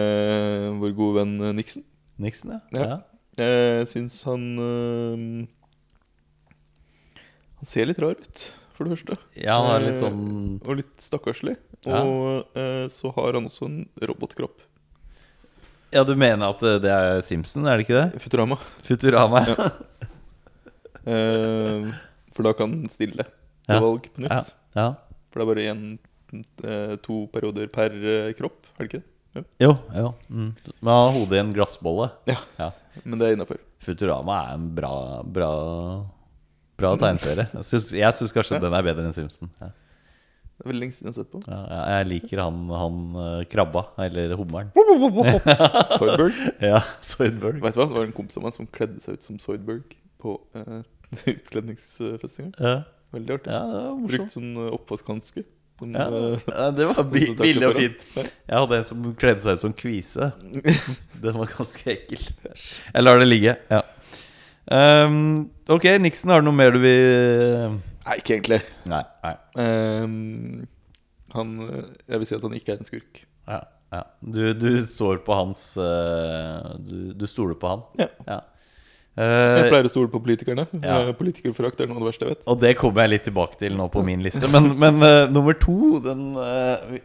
vår gode venn eh, Nixon.
Nixon, ja.
Ja. Jeg syns han eh, Han ser litt rar ut, for det første.
ja. ja han er litt
Eh,
sånn
Og litt stakkarslig.
Ja.
Og eh, så har han også en robotkropp.
Ja, du mener at det- det er Simpson, er det ikke det?
Futurama.
Futurama. Ja.
Eh, for da kan den stille til
Ja.
valg på nytt.
Ja. ja.
For det er bare en, eh, to perioder per eh, kropp, er det ikke det?
Jo, jo. Mm. Men han har hodet i en glassbolle.
Ja. Men det er innafor.
Futurama er en bra, bra, bra tegneserie. Jeg syns- Jeg syns kanskje den er bedre enn Simpson. Ja.
Det er veldig lenge siden jeg har sett på.
(laughs) Ja, ja, jeg liker han, han eh, krabba, eller hummeren.
Soydberg.
(laughs) Ja, Soydberg.
Vet du hva? Det var en kompis av meg som kledde seg ut som Soydberg på (laughs) uh, utkledningsfestivalen.
Ja,
Veldig artig.
ja, det var morsomt.
Brukte sånn eh, oppvaskhanske. Som,
Ja,
eh,
ja, det var
som
bi
takker
billig og
for han.
fint. Jeg hadde en som kledde seg ut som kvise.
(laughs)
Den var ganske ekkel. Jeg lar det ligge. ja Ehm, Ok, Nixon, har du noe mer du vil
Nei, ikke egentlig.
Nei. nei
Ehm, han eh, Jeg vil si at han ikke er en skurk.
ja, ja. Du, du står på hans eh, du, du stoler på han.
Ja.
Ja.
Jeg
Eh,
pleier å stole på politikerne.
Ja.
Eh, Politikerforakt er noe av det verste jeg vet.
Og det kommer jeg litt tilbake til nå på min liste.
(laughs)
Men, men eh, nummer to den, eh,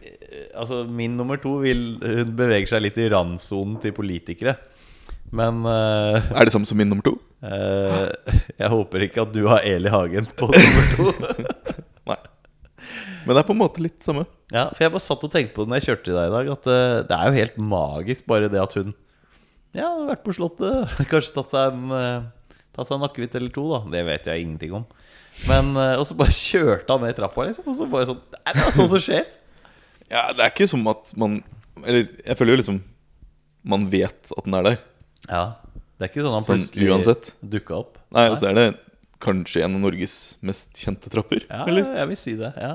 Altså, min nummer to vil, hun beveger seg litt i randsonen til politikere. Men eh,
Er det samme som min nummer
(laughs)
to? (laughs)
eh, jeg håper ikke at du har Eli Hagen på nummer to.
Nei. Men det er på en måte litt samme.
Ja, For jeg bare satt og tenkte på det når jeg kjørte til deg i dag, at eh, det er jo helt magisk bare det at hun Ja, har vært på Slottet, (laughs) kanskje tatt seg en eh, Tatt seg en akevitt eller to, da. Det vet jeg ingenting om. Men, eh, Og så bare (laughs) kjørte han ned trappa, liksom. Og så bare sånn Det er bare sånn som skjer.
Ja, Det er ikke som at man Eller jeg føler jo liksom man vet at den er der.
Ja, det er ikke sånn han
Sånn
plutselig
uansett.
dukka opp.
Nei, Og så er det kanskje en av Norges mest kjente trapper.
Ja,
Eller?
jeg vil si det. ja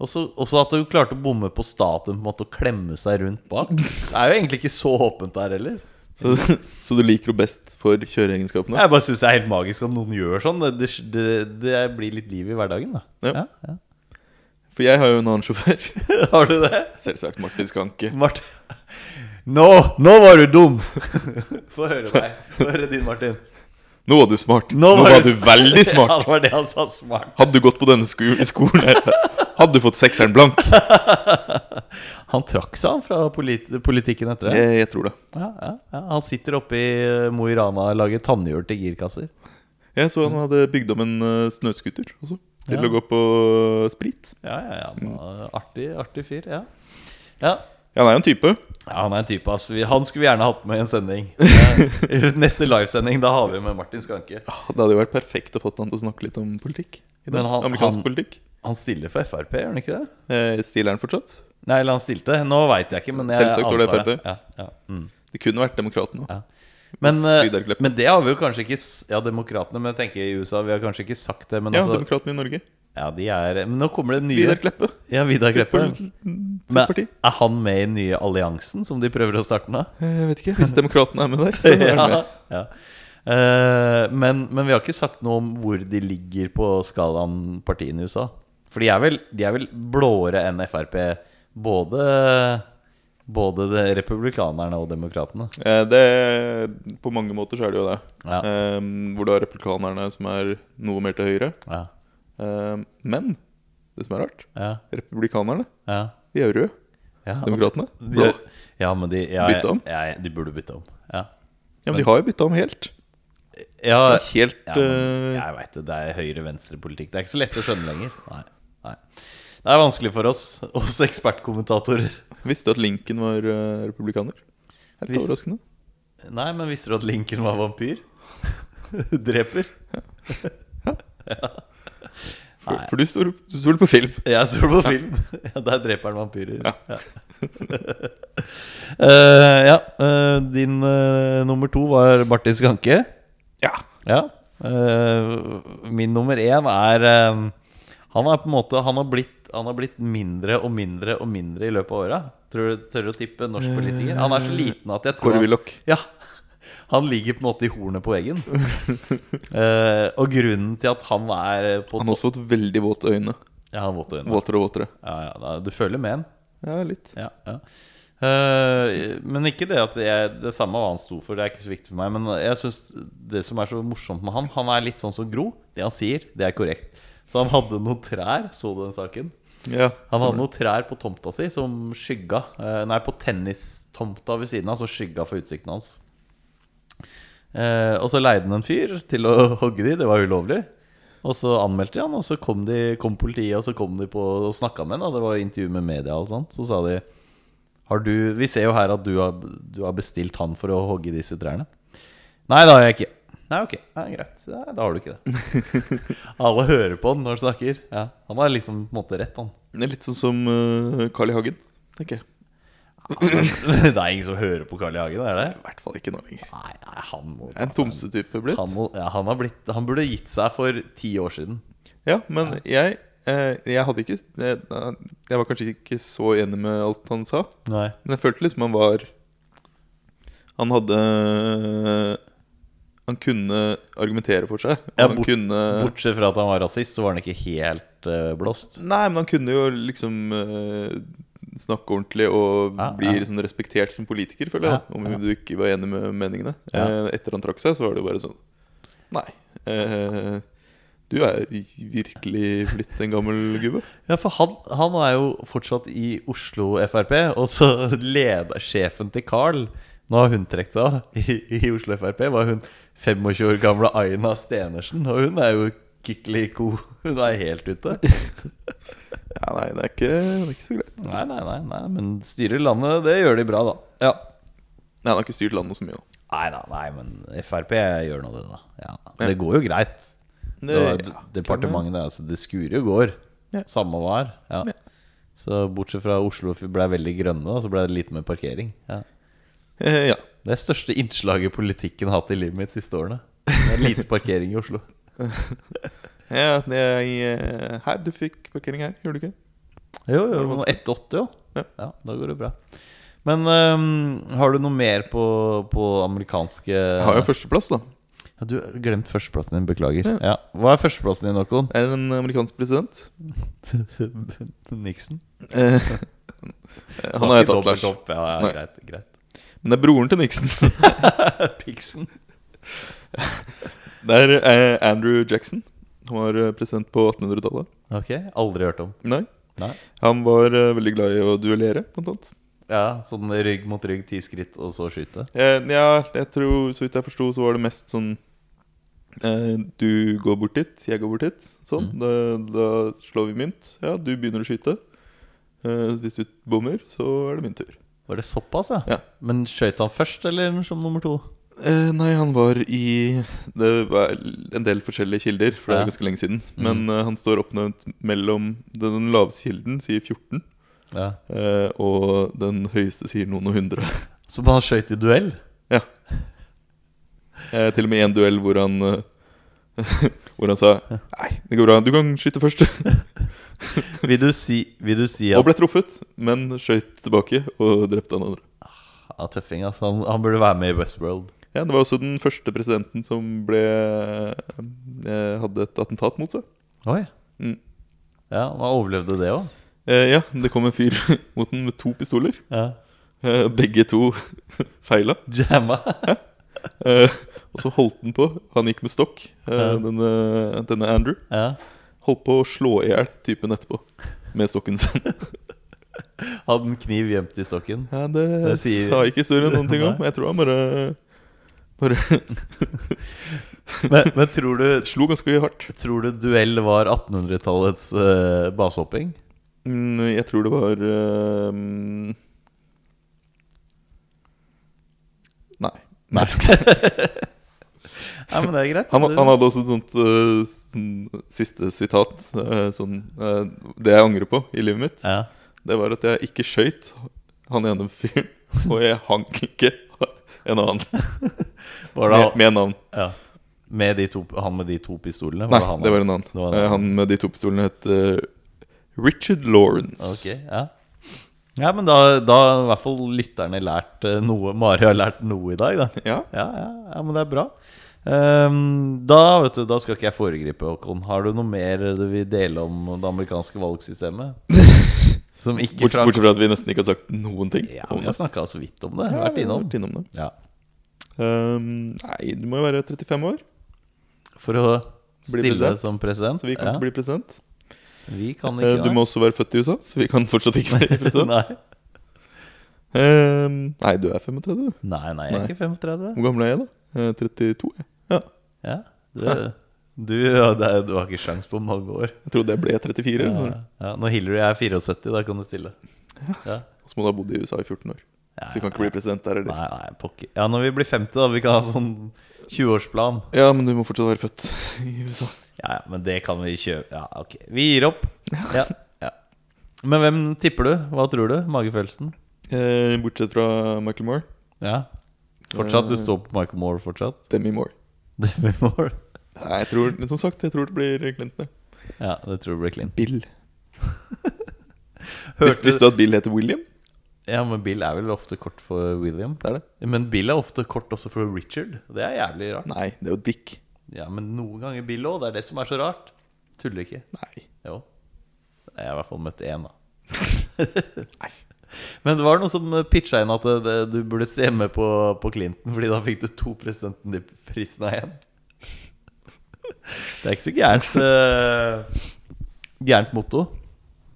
også, også at du klarte å bomme på staten på en måte å klemme seg rundt bak. Det er jo egentlig ikke så åpent der heller.
(laughs) Så, så du liker henne best for kjøreegenskapene?
Jeg bare syns det er helt magisk at noen gjør sånn. Det, det- det, det blir litt liv i hverdagen, da.
Ja.
Ja, (laughs)
For jeg har jo en annen sjåfør. (laughs)
ja. Har du det?
Selvsagt Martin Skanke.
Martin Nå, nå var du dum! (laughs) Få høre meg. Få høre din, Martin.
Nå var du smart. Nå var, du (laughs) veldig
Ja,
smart.
det var det (laughs) han sa. Smart.
Hadde du gått på denne sko skolen, her, hadde du fått sekseren blank.
Han trakk seg, han, fra polit politikken etter det.
Jeg, jeg tror det.
Ja, ja, ja. Han sitter oppe i eh, Mo i Rana og lager tannhjul til girkasser.
Jeg så han hadde bygd om en eh, snøskuter også, til
Ja.
å gå på eh, sprit.
Ja, ja, ja. han var Artig, artig fyr. Ja. ja.
Ja, han er jo en type.
Ja, Han er en type, ass. Vi- Han skulle vi gjerne hatt med i en (laughs) sending. Eh, Neste livesending, da har vi med Martin Skanke.
Ah, Det hadde jo vært perfekt å få han til å snakke litt om politikk. i dag.
Men han-
Amerikansk
han-
politikk.
Han stiller for Frp, gjør han ikke det?
Eh, Stiller han fortsatt?
Nei, eller han stilte. Nå veit jeg ikke, men jeg
Selvsagt var det
antar
FrP.
Ja, ja. Mm.
Det kunne vært demokraten òg.
Ja. Men,
Hos
eh,
Vidar Kleppe.
men det har vi jo kanskje ikke s- Ja, Demokratene, men jeg tenker i USA Vi har kanskje ikke sagt det, men
Ja,
altså
demokraten i Norge.
Ja, de er Men nå kommer det nye
Vidar Kleppe.
Ja, Vidar
Sitt
Kleppe.
pol- sitt
Men
parti.
er han med i den nye alliansen som de prøver å starte nå?
Eh, Jeg vet ikke. Hvis demokraten er med der, så er han med.
(laughs) ja. Eh, men, men vi har ikke sagt noe om hvor de ligger på skalaen partiene i USA. For de er vel, de er vel blåere enn Frp, både, både de republikanerne og demokratene.
Eh, Det, på mange måter så er det jo det.
Ja.
Eh, hvor du har republikanerne som er noe mer til høyre.
Ja,
Eh, men det som er rart,
ja,
republikanerne
ja.
de er jo røde.
ja.
Demokratene blå.
De, ja, men de ja,
Bytte om?
Ja, de burde bytte om. Ja.
Ja, men de har jo bytta om helt.
ja,
Det er helt
ja men,
eh,
jeg veit det. Det er høyre-venstre-politikk. Det er ikke så lett å skjønne lenger. Nei, nei. Det er vanskelig for oss, oss ekspertkommentatorer.
Visste du at Lincoln var eh, republikaner? Det er litt
Visste-
overraskende.
Nei, men visste du at Lincoln (laughs) var vampyr? Dreper? Ja.
For,
Nei.
for du stoler du stoler på film.
Jeg så det på film. (laughs) Ja, Der dreper han vampyrer.
Ja.
Ja, (laughs) Eh, ja eh, din eh, nummer to var Martin Skanke.
Ja.
Ja. Eh, min nummer én er eh, Han er på en måte Han har blitt, han har blitt mindre og mindre og mindre i løpet av åra. Tror du tør å tippe norsk politiker? Han er så liten at jeg tror
Kåre
han-
Willoch.
ja. Han ligger på en måte i hornet på veggen. Eh, og grunnen til at han er på
Han har også fått veldig våte øyne.
topp- Ja, han har våte øyne.
Våtere og våtere.
Ja, ja, da- du føler med han.
Ja, litt.
Ja, ja. Eh, men ikke det at jeg, det samme hva han sto for, det er ikke så viktig for meg. Men jeg synes det som er så morsomt med han, han er litt sånn som Gro. Det han sier, det er korrekt. Så han hadde noen trær, så du den saken?
Ja,
Han hadde noen trær på tomta si som skygga eh, Nei, på tennistomta ved siden av, som skygga for utsikten hans. Eh, og så leide han en fyr til å (laughs) hogge de, det var ulovlig. Og så anmeldte de han, og så kom, de, kom politiet og så kom de på og snakka med han. da. Det var intervju med media og sånt. Så sa de har du, Vi ser jo her at du har, du har bestilt han for å hogge disse trærne. Nei, det har jeg ikke. Nei, ok. Nei, greit. Nei, da har du ikke det. Alle hører på han når han snakker. Ja, han har liksom på en måte rett, han.
Det er Litt sånn som eh, Carl I. Hagen. tenker jeg.
det er ingen som hører på Carl I. Hagen, er det?
I hvert fall ikke nå lenger.
Nei, nei han må
En tomsetype blitt.
han, må, ja, han, har blitt, han burde gitt seg for ti år siden.
Ja, men jeg eh, Jeg hadde ikke jeg, jeg var kanskje ikke så enig med alt han sa,
Nei.
men jeg følte liksom han var Han hadde Han kunne argumentere for seg. og
Ja,
han
bort-
kunne
Bortsett fra at han var rasist, så var han ikke helt eh, blåst.
Nei, men han kunne jo liksom eh, snakke ordentlig og
Ja,
bli
ja.
sånn respektert som politiker, føler jeg.
Ja,
Om
ja.
du ikke var enig med meningene.
Ja.
Eh, etter han trakk seg, så var det jo bare sånn Nei. eh, du er virkelig blitt en gammel gubbe.
Ja, for han, han er jo fortsatt i Oslo Frp, og så leder sjefen til Carl Nå har hun trukket seg av i, i Oslo Frp. Var hun 25 år gamle Aina Stenersen, og hun er jo kikkeliko. Hun er helt ute.
Ja, nei, det er ikke, det er ikke så greit.
Nei, nei, nei, nei, men styrer landet, det gjør de bra, da. Ja.
Nei, han har ikke styrt landet så mye, da.
Nei da, nei, men Frp gjør nå det, da. Ja. Det går jo greit. Det,
Det-
var
Eh, ja,
departementet der, altså, det skurer jo går.
Ja.
Samme hva er. Ja. Så bortsett fra Oslo ble veldig grønne, og så ble det litt mer parkering. Ja.
Eh, ja.
Det er største innslaget politikken har hatt i livet mitt de siste årene. Det er lite parkering i Oslo.
ja det er, eh, her, du fikk parkering her, gjorde du ikke?
(laughs) Jo, jo,
det
nå
vanskelig?
etter åtte, jo.
Ja.
Ja. da går det bra. Men øhm, har du noe mer på, på amerikanske
Jeg har jo førsteplass, da.
Ja, Du har glemt førsteplassen din, beklager.
Ja.
Ja. Hva er førsteplassen din, Håkon?
Det er en amerikansk president.
(laughs) Nixon? (laughs)
Eh, han har jeg tatt, Lars.
Dobbeltopp, Ja, ja,
Nei.
greit, greit. (laughs)
Men det er broren til Nixon. (laughs)
Pixen.
Det er eh, Andrew Jackson. Han var eh, president på 1800-tallet.
Ok, aldri hørt om.
Nei.
Nei.
Han var eh, veldig glad i å duellere, blant annet.
Ja, Sånn rygg mot rygg, ti skritt, og så skyte?
Eh, ja, jeg tror, så vidt jeg forsto, så var det mest sånn eh, Du går bort dit, jeg går bort dit. Sånn. Da, da slår vi mynt. Ja, du begynner å skyte. Eh, hvis du bommer, så er det min tur.
Var det såpass, ja?
Ja.
Men skøyt han først, eller som nummer to?
Eh, nei, han var i Det var en del forskjellige kilder, for det er
Ja.
ganske lenge siden. Men eh, han står oppnevnt mellom Den laveste kilden sier 14.
Ja
Eh, og den høyeste sier noen og hundre.
Som han skøyt i duell?
ja. Eh, til og med i en duell hvor han eh, (laughs) Hvor han sa Nei, det går bra, du kan skyte først.
Vil du si, vil du si
Og
at
ble truffet, men skøyt tilbake og drepte han andre.
ja, Tøffing, altså. Han, han burde være med i Westworld.
Ja, Det var også den første presidenten som ble eh, hadde et attentat mot seg.
Oi.
Mm.
Ja, Han overlevde det òg.
Eh, ja, det kom en fyr (laughs) mot den med to pistoler.
Ja.
Eh, begge to (laughs) feila.
Jamma.
Eh, og så holdt den på. Han gikk med stokk, eh,
Ja.
denne, denne Andrew.
Ja.
Holdt på å slå i hjel typen etterpå med stokken
(laughs)
sin.
Hadde en kniv gjemt i stokken.
Ja, det,
Det sier-
sa ikke historien noen ting om. Jeg tror han bare, bare
Men, men tror, du,
slo ganske hardt.
tror du duell var 1800-tallets eh, basehopping?
Mm, Jeg tror det var eh, mm, Nei. Nei.
Nei. Ja, men det er greit.
Han, han hadde også et sånt eh, sånn, siste sitat eh, sånn, eh, Det jeg angrer på i livet mitt,
ja.
det var at jeg ikke skøyt han ene fyren, og jeg hang ikke en annen
Var det
med,
han,
med navn.
ja. med de to, han med de to pistolene?
Nei,
han,
det var en annen.
Det var en annen.
Eh, Han med de to pistolene het eh, Richard Lawrence.
Ok, ja Ja, men da da har i hvert fall lytterne lært eh, noe Mari har lært noe i dag, da.
Ja,
Ja, ja, ja men det er bra. Ehm, da vet du, da skal ikke jeg foregripe, Håkon. Har du noe mer du vil dele om det
(laughs)
amerikanske valgsystemet? Som ikke
bort,
fra
Bortsett fra at vi nesten ikke har sagt noen ting.
Ja,
om
vi har
det.
snakka så vidt om det.
Ja,
Vært
vi har
innom.
vært innom det.
Ja.
Ehm, nei, du må jo være 35 år,
For å
Bli
stille
president,
som president.
så vi kan
ja.
ikke bli president.
Vi kan
Eh,
ikke
Du må også være født i USA, så vi kan fortsatt ikke bli president.
(laughs) nei.
Ehm, nei, du er 35, du.
nei, nei, jeg er ikke 35.
Hvor gammel er jeg, da? Eh, 32? Jeg. Ja.
Ja, (laughs) du, du, ja, det er, du har ikke sjans på mange år.
Jeg trodde jeg ble 34.
Ja,
eller noe.
ja, når Hillary er 74, da kan du stille. Ja.
Og så må du ha bodd i USA i 14 år. Så vi kan ikke bli president der heller.
Nei, nei, pokker. Ja, når vi blir 50, da. Vi kan ha sånn 20-årsplan.
Ja, men du må fortsatt være født i USA.
Ja, ja, men det kan vi kjøpe. Ja, ok. Vi gir
(laughs)
opp. Ja. ja. Men hvem tipper du? Hva tror du? Magefølelsen?
Eh, bortsett fra Michael Moore.
Ja. Fortsatt, du
Eh,
står på Michael Moore fortsatt? (laughs)
Demi Moore.
Demi Moore?
Nei, jeg tror, som sagt, jeg tror det blir Clinton. ja.
Ja, det tror jeg blir clean.
Bill. Visste,
Hørte
visste
du?
du at Bill heter William?
Ja, men Bill er vel ofte kort for William?
Det er det.
Men Bill er ofte kort også for Richard. Det er jævlig rart.
Nei, det er jo Dick.
Ja, men noen ganger Bill òg. Det er det som er så rart. Tuller ikke.
Nei.
Jo. Jeg har i hvert fall møtt én, da. (laughs) Men det var noen som pitcha inn at eh, det, det, du burde stemme på, på Clinton, Fordi da fikk du to presidentprisene av én. Det er ikke så gærent eh, Gærent motto.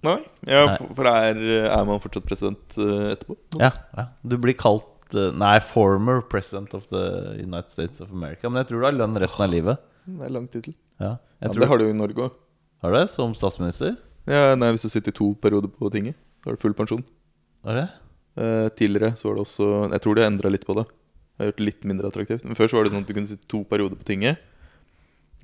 Nei, ja,
Nei.
For, for er, er man fortsatt president eh, etterpå?
Ja, ja. Du blir kalt eh, Nei, former president of the United States of America. Men jeg tror du har lønn resten av livet.
Det er lang tittel.
Ja,
Ja,
jeg
men
tror,
det har du jo i Norge òg.
har du det som statsminister?
Ja, nei, hvis du sitter i to perioder på tinget, da har du full pensjon.
Har du det?
Eh, tidligere så var det også Jeg tror de har endra litt på det. Det har gjort det litt mindre attraktivt. Men før så var det sånn at du kunne sitte to perioder på tinget,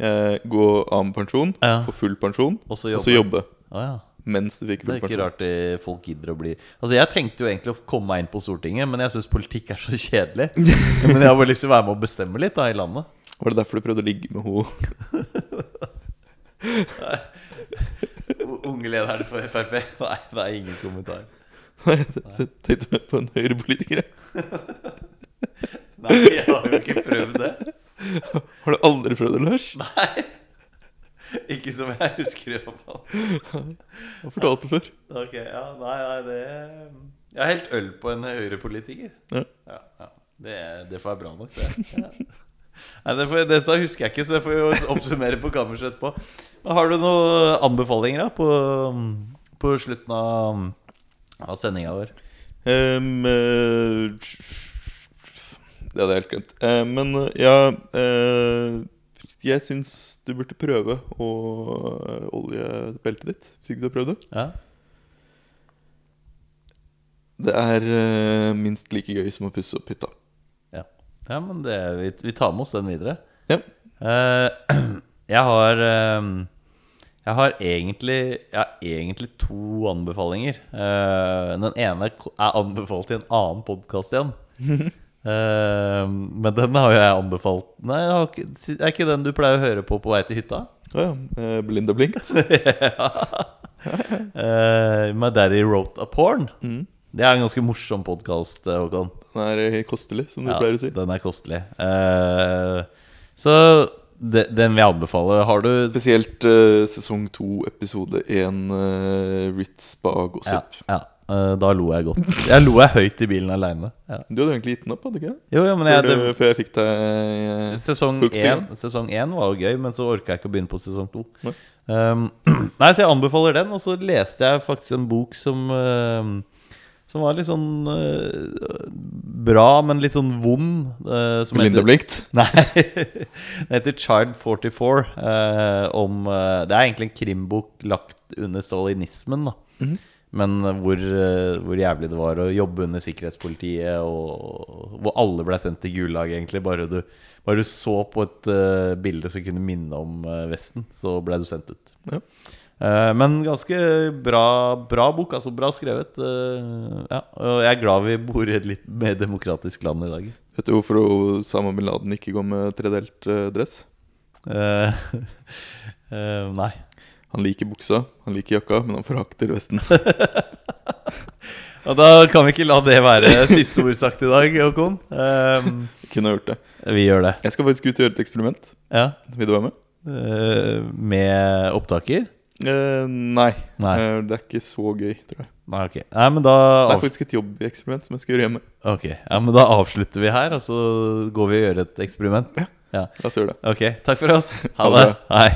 eh, gå av med pensjon,
Ja.
få full pensjon,
Og så
og så
jobbe.
jobbe
Å, ja.
mens du fikk
Det
full
er ikke
pensjon.
rart det, folk gidder å bli Altså Jeg tenkte jo egentlig å komme meg inn på Stortinget, men jeg syns politikk er så kjedelig. (laughs) Men jeg har bare lyst til å være med og bestemme litt da i landet.
Var det derfor du prøvde å ligge med (laughs) henne?
Unge lederen for Frp. Nei, det er ingen kommentar.
Nei, det- det- tenkte du på en høyrepolitiker? ja.
Nei, jeg har jo ikke prøvd det.
Har du aldri prøvd det, Lars?
Nei. Ikke som jeg husker, i hvert fall.
Jeg har fortalt det før.
Ok, ja, nei, nei, det Jeg har helt øl på en høyrepolitiker.
Ja.
Ja, ja. Det, det får være bra nok, det. Ja. Nei, det får, dette husker jeg ikke, så det får vi jo oppsummere på kammerset etterpå. Men har du noen anbefalinger da, på, på slutten av, av sendinga vår?
Ehm, eh, det hadde jeg helt glemt. Eh, men eh, ja eh, Jeg syns du burde prøve å eh, olje beltet ditt, hvis ikke du har prøvd det.
Ja.
Det er eh, minst like gøy som å pusse opp hytta.
Ja, ja men det, vi, vi tar med oss den videre.
Ja.
Eh, (clears throat) jeg har eh, Jeg har egentlig Jeg har egentlig to anbefalinger. Eh, den ene ko- er anbefalt i en annen
(laughs)
podkast igjen. Eh, men den har jo jeg anbefalt Nei, jeg har ikke, er ikke den du pleier å høre på på vei til hytta?
Å ja. eh, Belinda Blinkt.
Eh, My Daddy Wrote a Porn.
Mm.
Det er en ganske morsom podkast, Håkon.
Den er eh, kostelig, som du pleier å si.
Den er kostelig. Eh, så de, den vil jeg anbefale. Har du
Spesielt eh, sesong to, episode én, eh, Ritz Bag-gossip.
Ja, ja. Eh, da lo jeg godt. (laughs) Jeg lo jeg høyt i bilen aleine. Ja.
Du hadde egentlig gitt den opp, hadde du ikke? det?
Jo, jo, men
Før,
jeg,
du,
det,
før jeg fikk deg eh,
sesong
Hooked
én
igjen.
sesong én var jo gøy, men så orka jeg ikke å begynne på sesong to.
Nei.
Um, (clears throat) nei, så jeg anbefaler den. Og så leste jeg faktisk en bok som eh, Som var litt sånn eh, bra, men litt sånn vond. eh, som heter- (laughs)
Belinda Blinkt.
Nei. Den heter Child 44. eh, om, eh, det er egentlig en krimbok lagt under stalinismen. Da. Men hvor, eh, hvor jævlig det var å jobbe under sikkerhetspolitiet, og hvor alle ble sendt til gulag, egentlig. Bare du, bare du så på et eh, bilde som kunne minne om eh, Vesten, så ble du sendt ut.
Ja.
Eh, men ganske bra, bra bok, altså bra skrevet. eh, ja. Og jeg er glad vi bor i et litt mer demokratisk land i dag.
Vet du hvorfor hun- Osama bin Laden ikke går med tredelt eh, dress?
Eh, (laughs) eh, nei.
Han liker buksa, han liker jakka, men han forakter vesten.
Og da kan vi ikke la det være siste ord sagt i dag, Håkon.
(laughs)
Eh,
Kunne ha gjort det.
vi gjør det.
Jeg skal faktisk ut og gjøre et eksperiment.
Ja.
Vil du være med?
Eh, med opptaker?
Eh, nei.
Nei.
Eh, det er ikke så gøy, tror jeg.
Nei, ok. Nei, men da,
Det er
avs
faktisk et jobbeksperiment som jeg skal gjøre hjemme.
ok. ja, men da avslutter vi her, og så går vi og gjør et eksperiment.
La oss gjøre det.
Ok. Takk for oss. Ha
Ha
det.
det.
Hei.